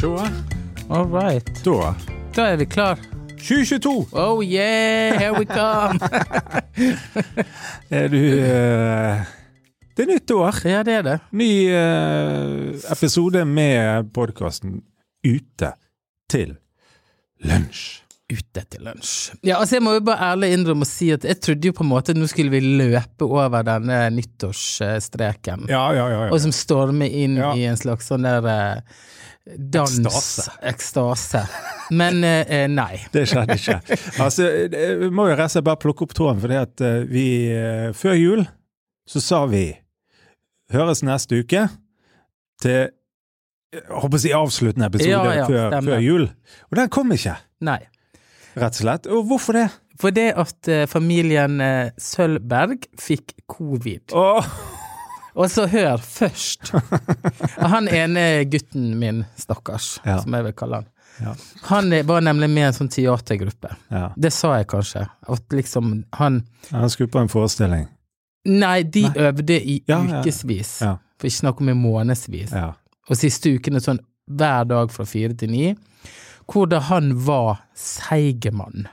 Se, All right. da. Da er vi klar. 2022! Oh yeah, here we come! Er du eh, Det er nytt år. ja, det er det. Ny eh, episode med podkasten Ute til lunsj. Ute til lunsj. Ja, altså Jeg må jo bare ærlig innrømme å si at jeg trodde jo på en måte nå skulle vi løpe over denne nyttårsstreken. Ja, ja, ja. Og som stormer inn Ja. i en slags sånn der eh, dans Ekstase. Ekstase. Men eh, eh, nei. Det skjedde ikke. Altså, det- vi må jo rett og slett bare plukke opp tråden, fordi at eh, vi eh, Før jul så sa vi Høres neste uke til jeg håper å si avsluttende episode Ja, ja, før, stemmer. før jul. Og den kom ikke, Nei. rett og slett. Og hvorfor det? For det at eh, familien eh, Sølberg fikk covid. Åh, Og så hør først. Han ene gutten min, stakkars, Ja. som jeg vil kalle han. Ja. Han eh, var nemlig med i en sånn teatergruppe. ja. Det sa jeg kanskje. At liksom han Han skulle på en forestilling. Nei, de Nei. øvde i Ja, ja, ja. ukevis. Ja. For ikke snakk om i månedsvis. Ja. Og siste uken er sånn hver dag fra fire til ni. Hvor da han var seigemann.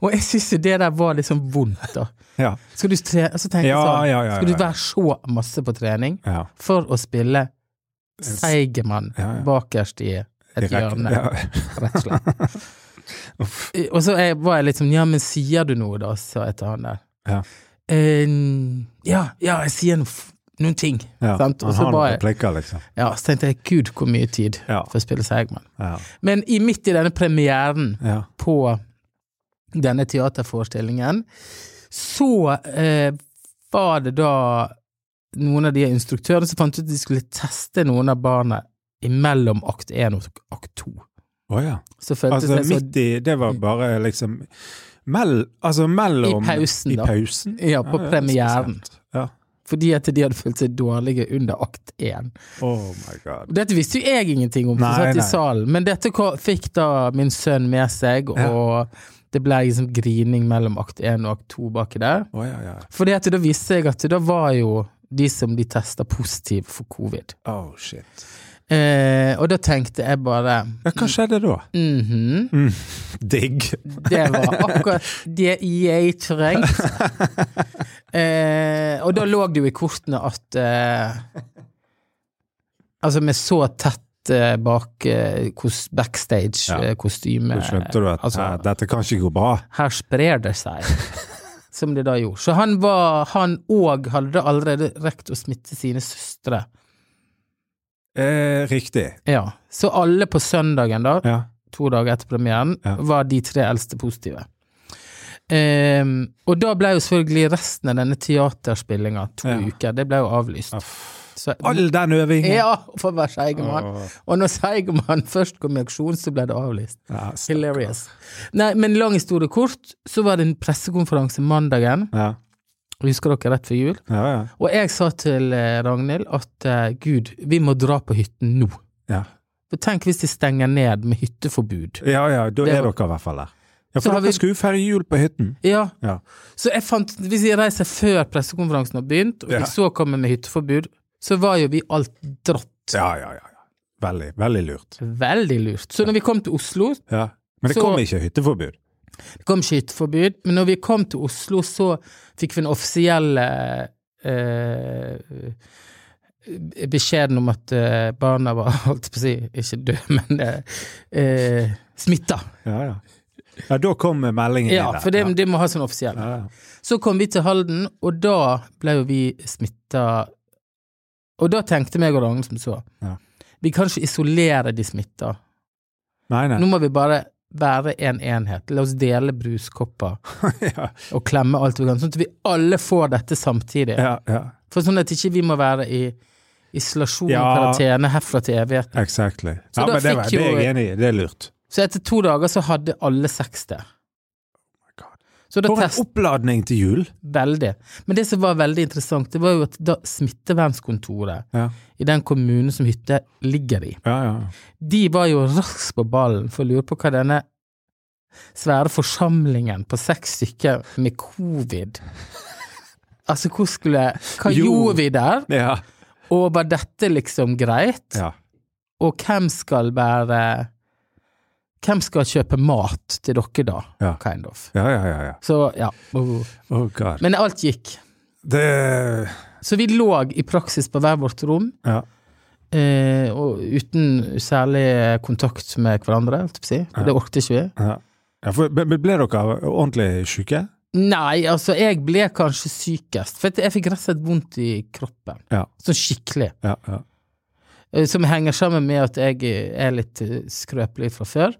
Og jeg syns jo det der var litt sånn vondt, da. Ja. Skal du, tre så tenker jeg Ja, sånn, ja, ja, ja, skal du ja. være så masse på trening? ja. for å spille Seigemann Ja, ja. bakerst i et hjørne, Ja. rett og slett. Og så er- var jeg litt sånn Ja, men sier du noe, da? sa jeg til han der. Ja. Eh, ja, ja, jeg sier noe, f- noen ting. Ja. Sant? Og Han så, har ba noen jeg, replikker, liksom. ja, så tenkte jeg gud, hvor mye tid Ja. for å spille Seigemann. Ja. Men i midt i denne premieren Ja. på denne teaterforestillingen, så eh, var det da noen av de instruktørene som fant ut at de skulle teste noen av barna imellom akt 1 og akt 2. Å ja. Så føltes Altså det så midt i Det var bare liksom mell, Altså mellom I pausen, i da. pausen. Ja, på det er premieren. spesielt. Ja. Fordi at de hadde følt seg dårlige under akt 1. Oh my god. Dette visste jo jeg ingenting om, som Nei, satt nei. i salen, men dette ko- fikk da min sønn med seg, Ja. og det ble liksom grining mellom akt 1 og akt 2 baki der. Å ja, ja. Fordi at da visste jeg at da var jo de som de testa positiv for covid. Oh shit. Eh, og da tenkte jeg bare Ja, hva skjedde da? mhm, Digg. Det var akkurat det jeg trengte. Eh, og da lå det jo i kortene at eh, Altså, med så tett eh, bak eh, kos- Ja. backstage-kostyme Så skjønte du at altså, eh, dette kan ikke gå bra. her sprer det seg. Som det da gjorde. Så han var Han òg hadde da allerede rekt å smitte sine søstre. Eh, riktig. Ja. Så alle på søndagen, da, Ja. to dager etter premieren, Ja. var de tre eldste positive. Ehm, og da ble jo selvfølgelig resten av denne teaterspillinga to Ja. uker, det ble jo avlyst. Aff. Så, All den øvingen. ja, for å være Seigermann. Åh. Og når Seigermann først kom i aksjon, så ble det avlyst. Ja, s- Hilarious. Nei, men lang historie kort, så var det en pressekonferanse mandagen, ja. husker dere rett før jul, Ja, ja. og jeg sa til eh, Ragnhild at eh, gud, vi må dra på hytten nå. Ja, For tenk hvis de stenger ned med hytteforbud. ja, ja da Det er var- dere i hvert fall der. Ja, Så for har dere vi- skulle jo feire jul på hytten. Ja, Ja. Så jeg fant, hvis jeg reiser før pressekonferansen har begynt, og Ja. jeg så kommer med hytteforbud, så var jo vi alt dratt. Ja, ja, ja. ja. Veldig, veldig lurt. Veldig lurt. Så når vi kom til Oslo, Ja. Men det Så- kom ikke hytteforbud. det kom ikke hytteforbud, men når vi kom til Oslo, så fikk vi den offisielle eh, beskjeden om at eh, barna var, holdt jeg på å si, ikke døde, men eh, eh, smitta. Ja, ja. Ja, da kom meldingen Ja, inn der. for det, det må ha sånn offisiell. Ja, ja. Så kom vi til Halden, og da ble jo vi smitta Og da tenkte meg og Ragnhild som så Ja. Vi kan ikke isolere de smitta. Nei, nei. Nå må vi bare være en enhet. La oss dele bruskopper ja, og klemme alt vi kan, sånn at vi alle får dette samtidig. ja, ja. For sånn at ikke vi må være i isolasjon og Ja. karantene herfra til evighet. Exactly. Så ja, da men det, fikk var- det er jo- jeg enig i. Det er lurt. Så etter to dager så hadde alle seks det. Oh God. Så da For en test oppladning til jul! veldig. Men det som var veldig interessant, det var jo at da smittevernkontoret Ja, i den kommunen som hytta ligger i. ja. ja. De var jo raskt på ballen for å lure på hva denne svære forsamlingen på seks stykker med covid Altså, hvor skulle Hva Jo. gjorde vi der? ja. Og var dette liksom greit? ja. Og hvem skal være Hvem skal kjøpe mat til dere da, Ja. kind of? Ja, ja, ja. ja. Så ja. oh. Oh god. Men alt gikk. Det Så vi lå i praksis på hver vårt rom, Ja. eh, og uten særlig kontakt med hverandre, holdt jeg på å si. For Det orket ikke vi. ja. ja for, men men ble dere ordentlig syke? Nei, altså, jeg ble kanskje sykest, for jeg fikk rett og slett vondt i kroppen. Ja. Sånn skikkelig. Ja, ja. Eh, Som henger sammen med at jeg er litt eh, skrøpelig fra før.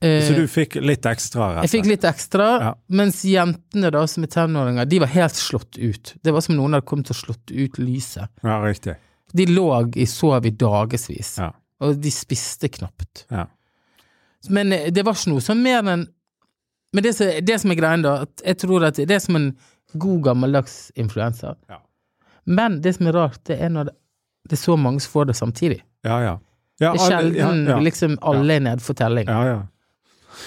Eh, Så du fikk litt ekstra? rett og Jeg fikk slett? litt ekstra, Ja. mens jentene da, som er tenåringer, de var helt slått ut. Det var som noen hadde kommet og slått ut lyset. Ja, riktig. De lå i sov i dagevis, Ja. og de spiste knapt. Ja. Men eh, det var ikke noe sånn mer enn Men det, som- det som er greien, da, at jeg tror at det er som en god, gammeldags influensa. Ja. Men det som er rart, det er når det, det er så mange som får det samtidig. Ja, ja. Ja, Det er alle- ja, sjelden ja. liksom alle er nede for telling. ja, ja.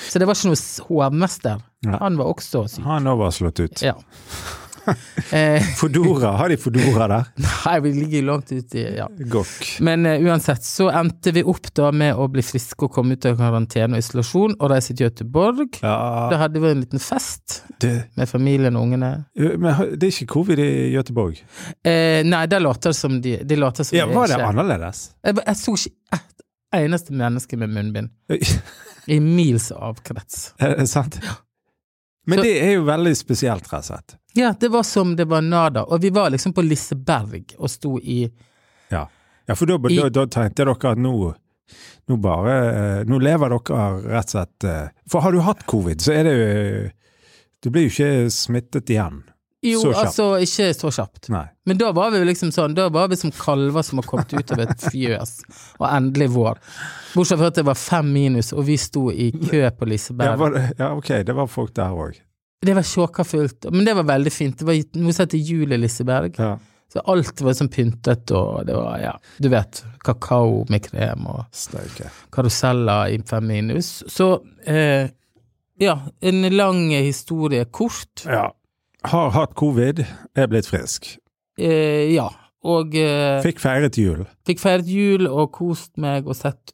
Så det var ikke noe s- hovmester. Nei. Han var også syk. Han òg var slått ut. Ja. eh, Fodora, har de Fodora der? nei, vi ligger jo langt ute i ja. Gokk. Men eh, uansett så endte vi opp da med å bli friske og komme ut av karantene og isolasjon og reise til Gøteborg. Ja, Da hadde vi en liten fest det, med familien og ungene. men har- det er ikke covid i Göteborg? Eh, nei, det later som de, de later som Ja, de var det ikke- annerledes? jeg, bare- jeg så ikke ett eneste menneske med munnbind Er i mils avkrets. det sant? Men Så- det er jo veldig spesielt, rett og slett. Ja, det var som det var nada. Og vi var liksom på Liseberg og sto i Ja, ja for da, da, da tenkte dere at nå nå bare eh, Nå lever dere rett og slett eh, For har du hatt covid, så er det jo Du blir jo ikke smittet igjen. Jo, Så kjapt. altså, ikke så kjapt. Nei. Men da var vi jo liksom sånn, da var vi som kalver som har kommet ut av et fjøs, og endelig vår. Bortsett fra at det var fem minus, og vi sto i kø på Ja, Liseberg. var, det- ja, ok, det var folk der òg. Det var sjåka fullt, men det var veldig fint. Det var noe som heter Jul i Liseberg. Ja. Så alt var sånn pyntet, og det var, ja, du vet, kakao med krem og Steike. karuseller i fem minus. Så, eh, ja, en lang historie kort. Ja. Har hatt covid, er blitt frisk. Eh, ja, og eh, Fikk feiret jul. Fikk feiret jul og kost meg og sett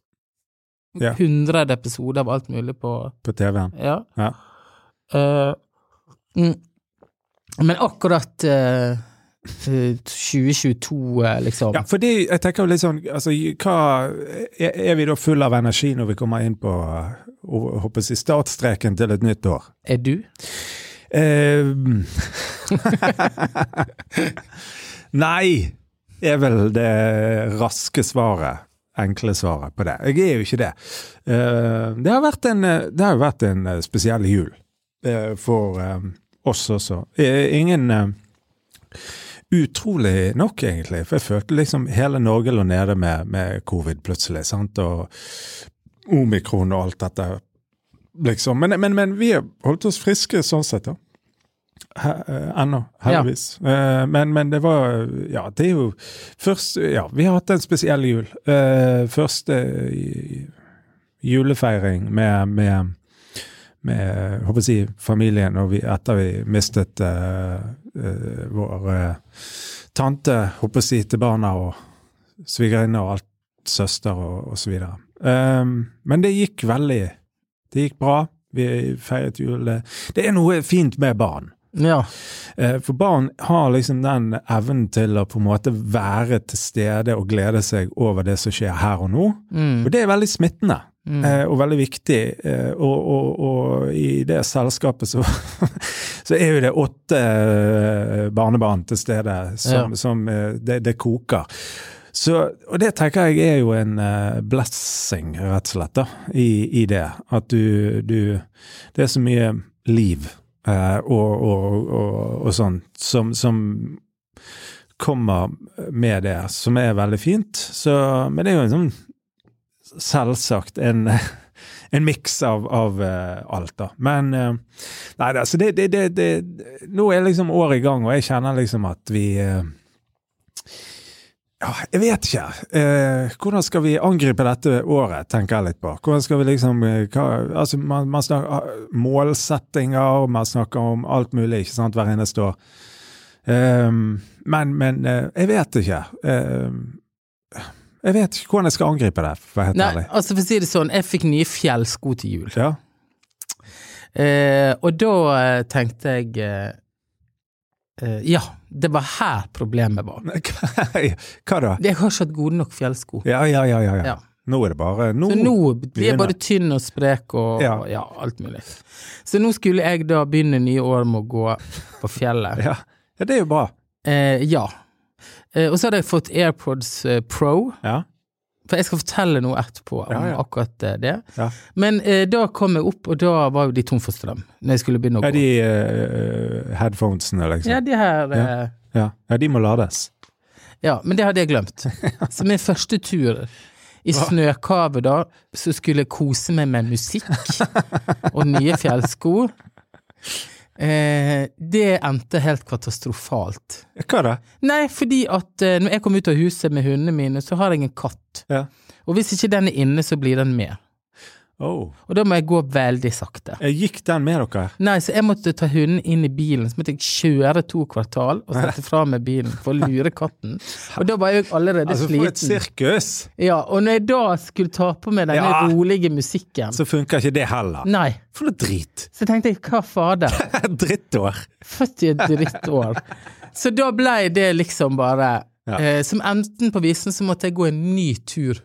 Ja. 100 episoder av alt mulig på på TV-en. Ja. Ja. Eh, mm. Men akkurat eh, eh, 2022, eh, liksom. Ja, fordi jeg tenker jo litt sånn altså, hva, er, er vi da full av energi når vi kommer inn på og, håper jeg, startstreken til et nytt år? Er du? Eh, nei, er vel det raske svaret. Enkle svaret på det. Jeg er jo ikke det. Eh, det har vært en, eh, det har jo vært en eh, spesiell jul eh, for eh, oss også. Eh, ingen eh, Utrolig nok, egentlig. For jeg følte liksom hele Norge lå nede med, med covid plutselig. sant? Og omikron og alt dette liksom. Men, men, men vi har holdt oss friske sånn sett, da. He- eh, Ennå, heldigvis. Eh, Men, men det var Ja, det er jo først Ja, vi har hatt en spesiell jul. Eh, Første eh, julefeiring med, med med håper jeg, å si, familien og vi, etter vi mistet eh, eh, vår eh, tante håper jeg, å si, til barna og svigerinne og alt, søster og, og så videre. Ehm, men det gikk veldig Det gikk bra. Vi feiret jul. eh, Det er noe fint med barn. Ja. Eh, For barn har liksom den evnen til å på en måte være til stede og glede seg over det som skjer her og nå. Mm. Og det er veldig smittende. Mm. Eh, og veldig viktig. Eh, og, og, og i det selskapet så, så er jo det åtte eh, barnebarn til stede som, Ja. som eh, det, det koker. Så, og det tenker jeg er jo en eh, blessing, rett og slett, da, i, i det. At du, du Det er så mye liv eh, og, og, og, og sånn som, som kommer med det, som er veldig fint. Så, men det er jo en sånn selvsagt en, en miks av, av eh, alt, da. Men eh, Nei, det, altså det, det, det, det Nå er liksom året i gang, og jeg kjenner liksom at vi eh, ja, jeg vet ikke. Eh, hvordan skal vi angripe dette året, tenker jeg litt på. Hvordan skal vi liksom eh, hva, altså man, man snakker ah, målsettinger, man snakker om alt mulig, ikke sant, hver eneste år. Eh, men men eh, jeg vet ikke. Eh, Jeg vet ikke hvordan jeg skal angripe det, for å være helt Nei, ærlig. altså for å si det sånn, jeg fikk nye fjellsko til jul. Ja. Eh, og da eh, tenkte jeg eh, eh, Ja, det var her problemet var. Men Hva, hva da? Jeg har ikke hatt gode nok fjellsko. Ja, ja, ja, ja, ja. Ja. Nå er det bare Nå, Så nå blir jeg begynner. både tynn og sprek og ja. Ja. alt mulig. Så nå skulle jeg da begynne nye år med å gå på fjellet. Ja. ja, det er jo bra. Eh, ja. Eh, og så hadde jeg fått AirPods eh, Pro, Ja. for jeg skal fortelle noe etterpå om Ja, ja. akkurat eh, det. Ja. Men eh, da kom jeg opp, og da var jo de tom for strøm. Når jeg skulle begynne å ja gå. de eh, headphonesene, ja, liksom. de her eh, Ja. ja, de må lades. Ja, men det hadde jeg glemt. Så min første tur i snøkavet da, så skulle jeg kose meg med musikk og nye fjellsko. Eh, det endte helt katastrofalt. Hva da? Nei, fordi at eh, når jeg kom ut av huset med hundene mine, så har jeg en katt. Ja. Og hvis ikke den er inne, så blir den med. Oh. Og da må jeg gå veldig sakte. Eh, Gikk den med dere? Nei, så jeg måtte ta hunden inn i bilen, så måtte jeg kjøre to kvartal og sette fra meg bilen for å lure katten. Og da var jeg allerede Altså, for et sliten. sirkus! Ja, og når jeg da skulle ta på meg denne Ja. rolige musikken Så funker ikke det heller. Nei. For noe drit! Så tenkte jeg, hva fader? Drittår! Født i et drittår. Så da blei det liksom bare Ja. eh, Som enten på visen så måtte jeg gå en ny tur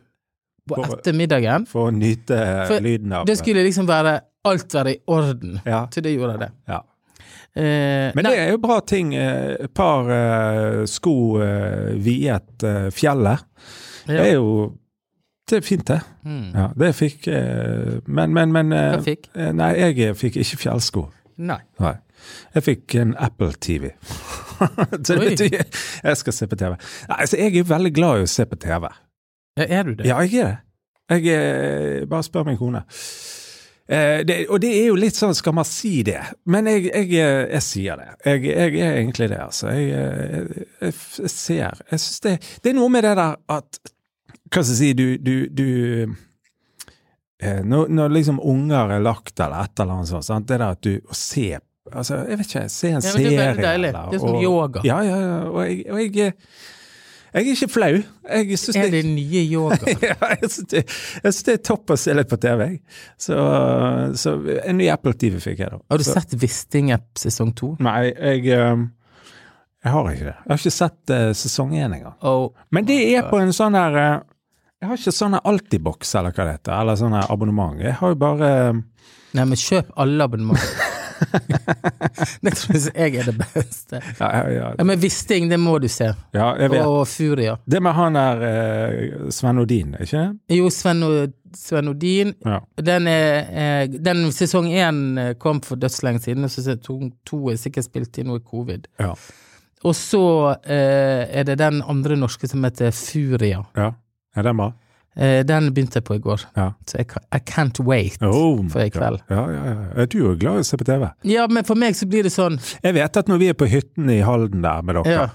på For- ettermiddagen. For å nyte eh, For lyden av Det skulle liksom være alt være i orden. Ja. Så det gjorde jeg det. ja. Eh, Men nei, det er jo bra ting. eh, Et par eh, sko eh, viet eh, fjellet. Ja. Det er jo Det er fint, det. Mm. Ja, det fikk eh, Men, men, men eh, Hva fikk? eh, Nei, jeg fikk ikke fjellsko. nei. Nei. Jeg fikk en Apple TV. så det Oi. betyr jeg skal se på TV. Nei, Altså, jeg er jo veldig glad i å se på TV. Ja, er du det? Ja, jeg er det. Jeg eh, Bare spør min kone. Eh, det, og det er jo litt sånn, skal man si det? Men jeg, jeg, eh, jeg sier det. Jeg, jeg er egentlig det, altså. Jeg, eh, jeg, jeg, f- jeg ser Jeg syns det Det er noe med det der at Hva skal jeg si Du, du, du eh, når, når liksom unger er lagt eller et eller annet sånt, sant? det der at du å se Altså, jeg vet ikke, se en Ja, men serie det er veldig deilig. eller- Det er som og- yoga. Ja, ja, ja. Og jeg, og jeg, eh, jeg er ikke flau. Jeg syns Er det nye yoga? ja, jeg synes det, jeg synes det er topp å se litt på TV. jeg. Så, så en ny Apple TV fikk jeg, da. Har du så, sett Wisting App sesong to? Nei, jeg, um, jeg har ikke det. Jeg har ikke sett eh, sesong én engang. Og Men det er på en sånn her eh, Jeg har ikke sånn her Altibox, eller hva det heter, eller sånn her abonnement. Jeg har jo bare um, Nei, men kjøp alle abonnement. det syns jeg er det beste. ja, ja, Ja, ja, men Wisting, det må du se. ja, jeg vet. Og Furia. Det med han der eh, Sven Odin, ikke det? Jo, Sven, Sven Odin. Ja. Den, er, eh, den sesong én eh, kom for dødslenge siden, og så sesong to er sikkert spilt inn noe covid. Ja. Og så eh, er det den andre norske som heter Furia. ja. Er den bra? Eh, den begynte jeg på i går, Ja. så jeg, kan- I can't wait Oh, my for i God. kveld. Ja, ja, ja. Er du jo glad i å se på TV? Ja, men for meg så blir det sånn Jeg vet at når vi er på hytten i Halden der med dere, ja.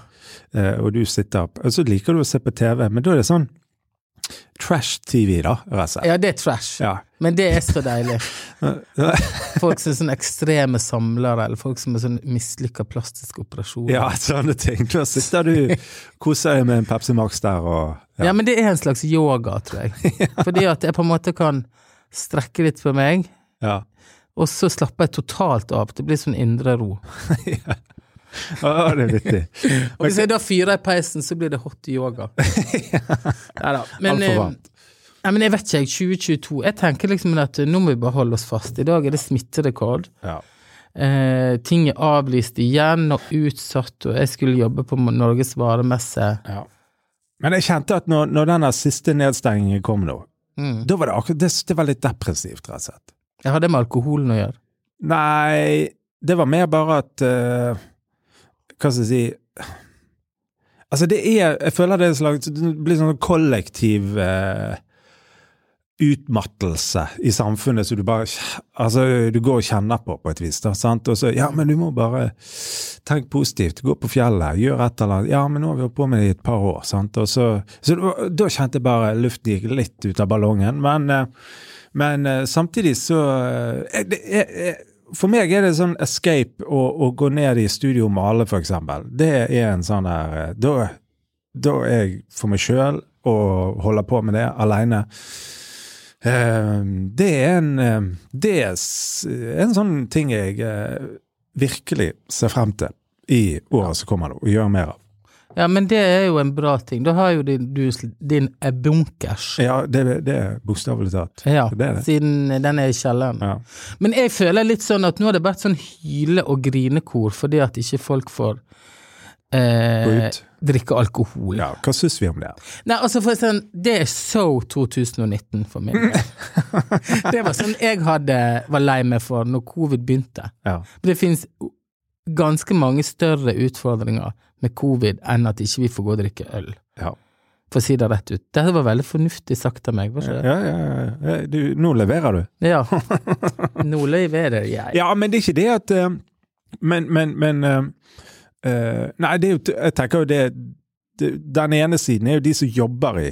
eh, og du sitter opp, så liker du å se på TV, men da er det sånn trash-TV, da, Reze. ja, det er trash, Ja. men det er så deilig. Folk som er sånn ekstreme samlere, eller folk som er sånn mislykka plastisk operasjon. ja, sånne ting. Da sitter du koser deg med en Pepsi Max der og Ja, men det er en slags yoga, tror jeg. Fordi at jeg på en måte kan strekke litt på meg, Ja. og så slapper jeg totalt av. Det blir sånn indre ro. Å, det er vittig. Og hvis jeg da fyrer i peisen, så blir det hot yoga. Nei da. Men, Alt for varmt. eh, Nei, men jeg vet ikke, jeg. 2022. Jeg tenker liksom at eh, nå må vi bare holde oss fast. I dag er det smitterekord. Ja. Eh, ting er avlyst igjen og utsatt, og jeg skulle jobbe på Norges varemesse. ja. Men jeg kjente at når, når den siste nedstengingen kom nå, Mm. da var det akkurat det, det var litt depressivt, rett og slett. Jeg hadde med alkoholen å gjøre. Nei, det var mer bare at eh, Hva skal jeg si Altså, det er Jeg føler det er en slags Det blir sånn kollektiv eh, utmattelse i samfunnet som du bare Altså, du går og kjenner på, på et vis, da, sant? Og så Ja, men du må bare tenke positivt. Gå på fjellet, gjør et eller annet. Ja, men nå har vi holdt på med det i et par år, sant? Og så Så det var- da kjente jeg bare luften gikk litt ut av ballongen, men eh, men eh, samtidig så eh, det, er- er- For meg er det sånn escape å, å gå ned i studio og male, for eksempel. Det er en sånn der eh, Da, da er jeg for meg sjøl. og holder på med det aleine. Eh, Det er en eh, Det er s- en sånn ting jeg eh, virkelig ser frem til i året som kommer, nå, og gjør mer av. Ja, men det er jo en bra ting. Da har jo din, du sl- din eh, bunkers. Ja, det, det er bokstavelig talt. Ja, Det er det. siden den er i kjelleren. Ja. Men jeg føler litt sånn at nå har det vært sånn hyle- og grinekor fordi at ikke folk får Gå eh, ut. drikke alkohol. ja, hva syns vi om det? Nei, altså for sånn, Det er so 2019 for min del. det var sånn jeg hadde, var lei meg for når covid begynte. Ja. Det finnes ganske mange større utfordringer med covid enn at ikke vi får gå og drikke øl, Ja. for å si det rett ut. Dette var veldig fornuftig sagt av meg, var Ja, ikke det? ja, ja, ja. Du, nå leverer du. Ja. Nå løy jeg det, jeg. Ja, men det er ikke det at eh, Men, men, men eh, eh, Nei, det er jo, jeg tenker jo det, det Den ene siden er jo de som jobber i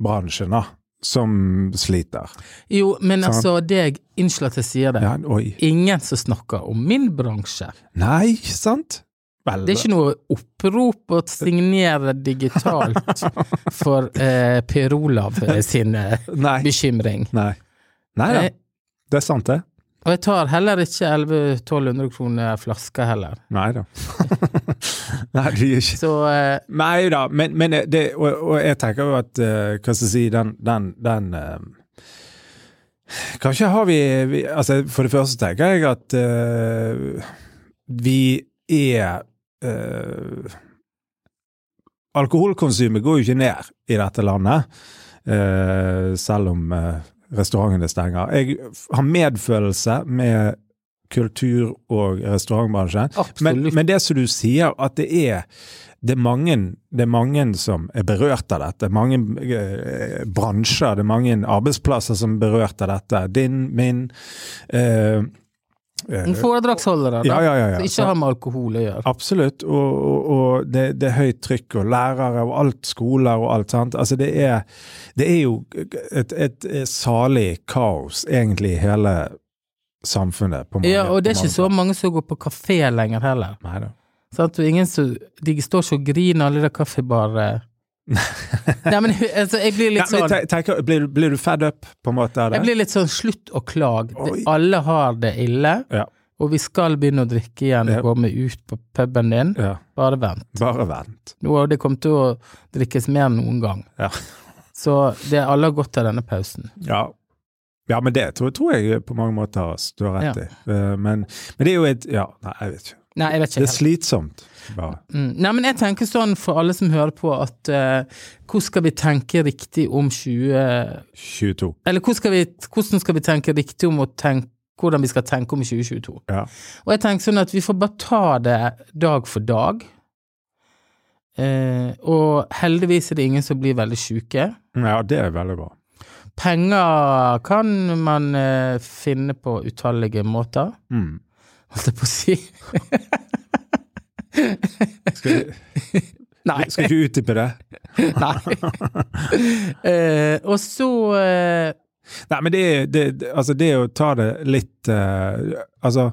bransjen, da. Som sliter. Jo, men Sant. altså, det jeg Unnskyld at jeg sier det. Ja, oi. Ingen som snakker om min bransje. Nei, sant? Vel, Det er ikke noe opprop å signere digitalt for eh, Per Olav sin eh, Nei. bekymring. Nei. Nei da. Jeg, Det er sant, det. og jeg tar heller ikke 1100-1200 kroner flaska heller. Nei da. Nei, du gjør ikke Så eh, Nei da, men, men det, og, og jeg tenker jo at eh, Hva skal jeg si, den, den, den eh, Kanskje har vi, vi altså For det første tenker jeg at eh, vi er eh, Alkoholkonsumet går jo ikke ned i dette landet, eh, selv om eh, restaurantene stenger. Jeg f- har medfølelse med kultur- og restaurantbransjen. Men, absolutt. men det som du sier, at det er det er, mange, det er mange som er berørt av dette. Mange eh, bransjer, det er mange arbeidsplasser som er berørt av dette. Din, min eh, eh, Foredragsholdere, da. Ja, ja, ja. ja. som ikke har med alkohol å gjøre. Absolutt. Og, og, og det, det er høyt trykk, og lærere, og alt skoler og alt sant. Altså, det er, det er jo et, et, salig kaos, egentlig, i hele samfunnet. På mange, Ja, og det er på ikke så mange som går på kafé lenger heller. mange- Neida. Sant? Og ingen som, de står ikke og griner, alle de kaffebarer Nei, men altså, jeg blir litt Nei, men sånn te- tenker, blir, blir du fed up, på en måte? av det? Jeg blir litt sånn slutt å klage. Det- Oi. Alle har det ille, Ja. og vi skal begynne å drikke igjen Ja. og komme ut på puben din. Ja, Bare vent. bare vent. Nå har det kommet til å drikkes mer enn noen gang. Ja. Så det er alle har godt av denne pausen. Ja, ja men det tror, tror jeg på mange måter s- du har rett Ja. i. Eh, Men, men det er jo et Ja, nei, jeg vet ikke. Nei, jeg vet Det ikke er helt. slitsomt, bare. Mm. Nei, men jeg tenker sånn for alle som hører på, at eh, hvordan skal vi tenke riktig om 20 22. Eller hvordan skal vi, hvordan skal vi tenke riktig om å tenke hvordan vi skal tenke om 2022? Ja. Og jeg tenker sånn at vi får bare ta det dag for dag. Eh, og heldigvis er det ingen som blir veldig syke. ja, det er veldig bra. Penger kan man eh, finne på utallige måter, Mm. holdt jeg på å si. Skal, Nei. vi- skal ikke utdype det? Nei. eh, og så eh, Nei, men det er det, det- altså det å ta det litt eh, Altså,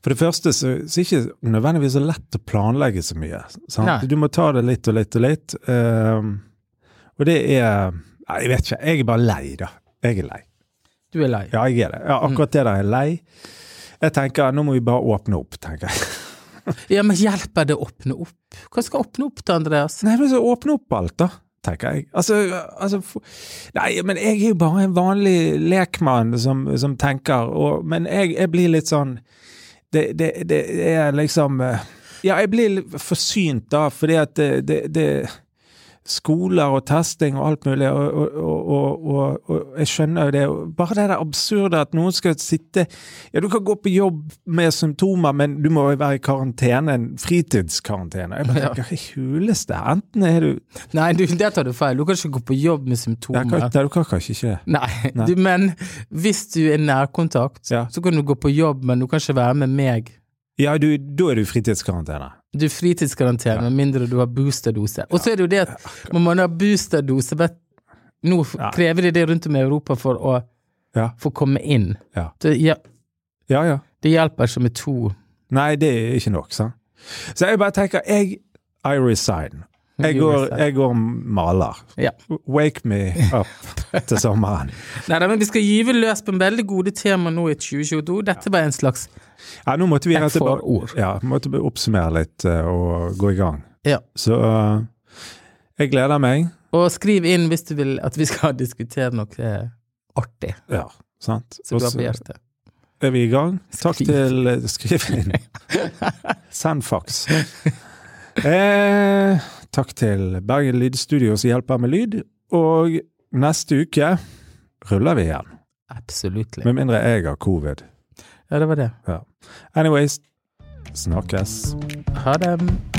for det første så, så er det ikke nødvendigvis så lett å planlegge så mye. Sant? Nei. Du må ta det litt og litt og litt. ehm, og det er Nei, jeg vet ikke. Jeg er bare lei, da. Jeg er lei. Du er lei. Ja, jeg er det. Ja, akkurat det der er lei. Jeg tenker, nå må vi bare åpne opp, tenker jeg. Ja, men hjelper det å åpne opp? Hva skal åpne opp da, Andreas? Nei, men så åpne opp alt, da, tenker jeg. Altså, altså for- Nei, men jeg er jo bare en vanlig lekmann som, som tenker, og, men jeg, jeg blir litt sånn det, det, det er liksom eh, Ja, jeg blir litt forsynt, da, fordi at det, det, det Skoler og testing og alt mulig, og, og, og, og, og, og jeg skjønner jo det. og Bare det der absurde at noen skal sitte Ja, du kan gå på jobb med symptomer, men du må jo være i karantene, en fritidskarantene. Jeg bare tenker, hva huleste? Enten er du Nei, du, der tar du feil. Du kan ikke gå på jobb med Nei, symptomer. kan, nei, du kan kanskje ikke det. Nei, Du, men hvis du er nærkontakt, Ja. så kan du gå på jobb, men du kan ikke være med meg. Ja, du, da er du i fritidskarantene. Du er fritidskarantene, med mindre du har boosterdose. Og så er det jo det at når man har boosterdose vet, Nå f- Ja. krever de det rundt om i Europa for å Ja. få komme inn. Ja. Det, hjel- Ja, ja. det hjelper ikke med to. Nei, det er ikke nok, sant. Så jeg bare tenker, jeg I resign. Jeg går, jeg går maler. Ja. Wake me up til sommeren. Neida, men vi skal gyve løs på en veldig gode tema nå i 2022. Dette var en slags Ja, nå måtte vi Takk rett for tilbake- ord. Ja, måtte vi oppsummere litt eh, og gå i gang. Ja. Så eh, jeg gleder meg. Og skriv inn hvis du vil at vi skal diskutere noe eh, artig Ja, sant? som Og du har så på hjertet. er vi i gang. Takk Skriv. til eh, Skriv inn. Send fax. Eh, takk til Bergen Lydstudio som hjelper med lyd. Og neste uke ruller vi igjen. Absolutt. Med mindre jeg har covid. Ja, det var det. Ja. Anyways, snakkes. Ha det.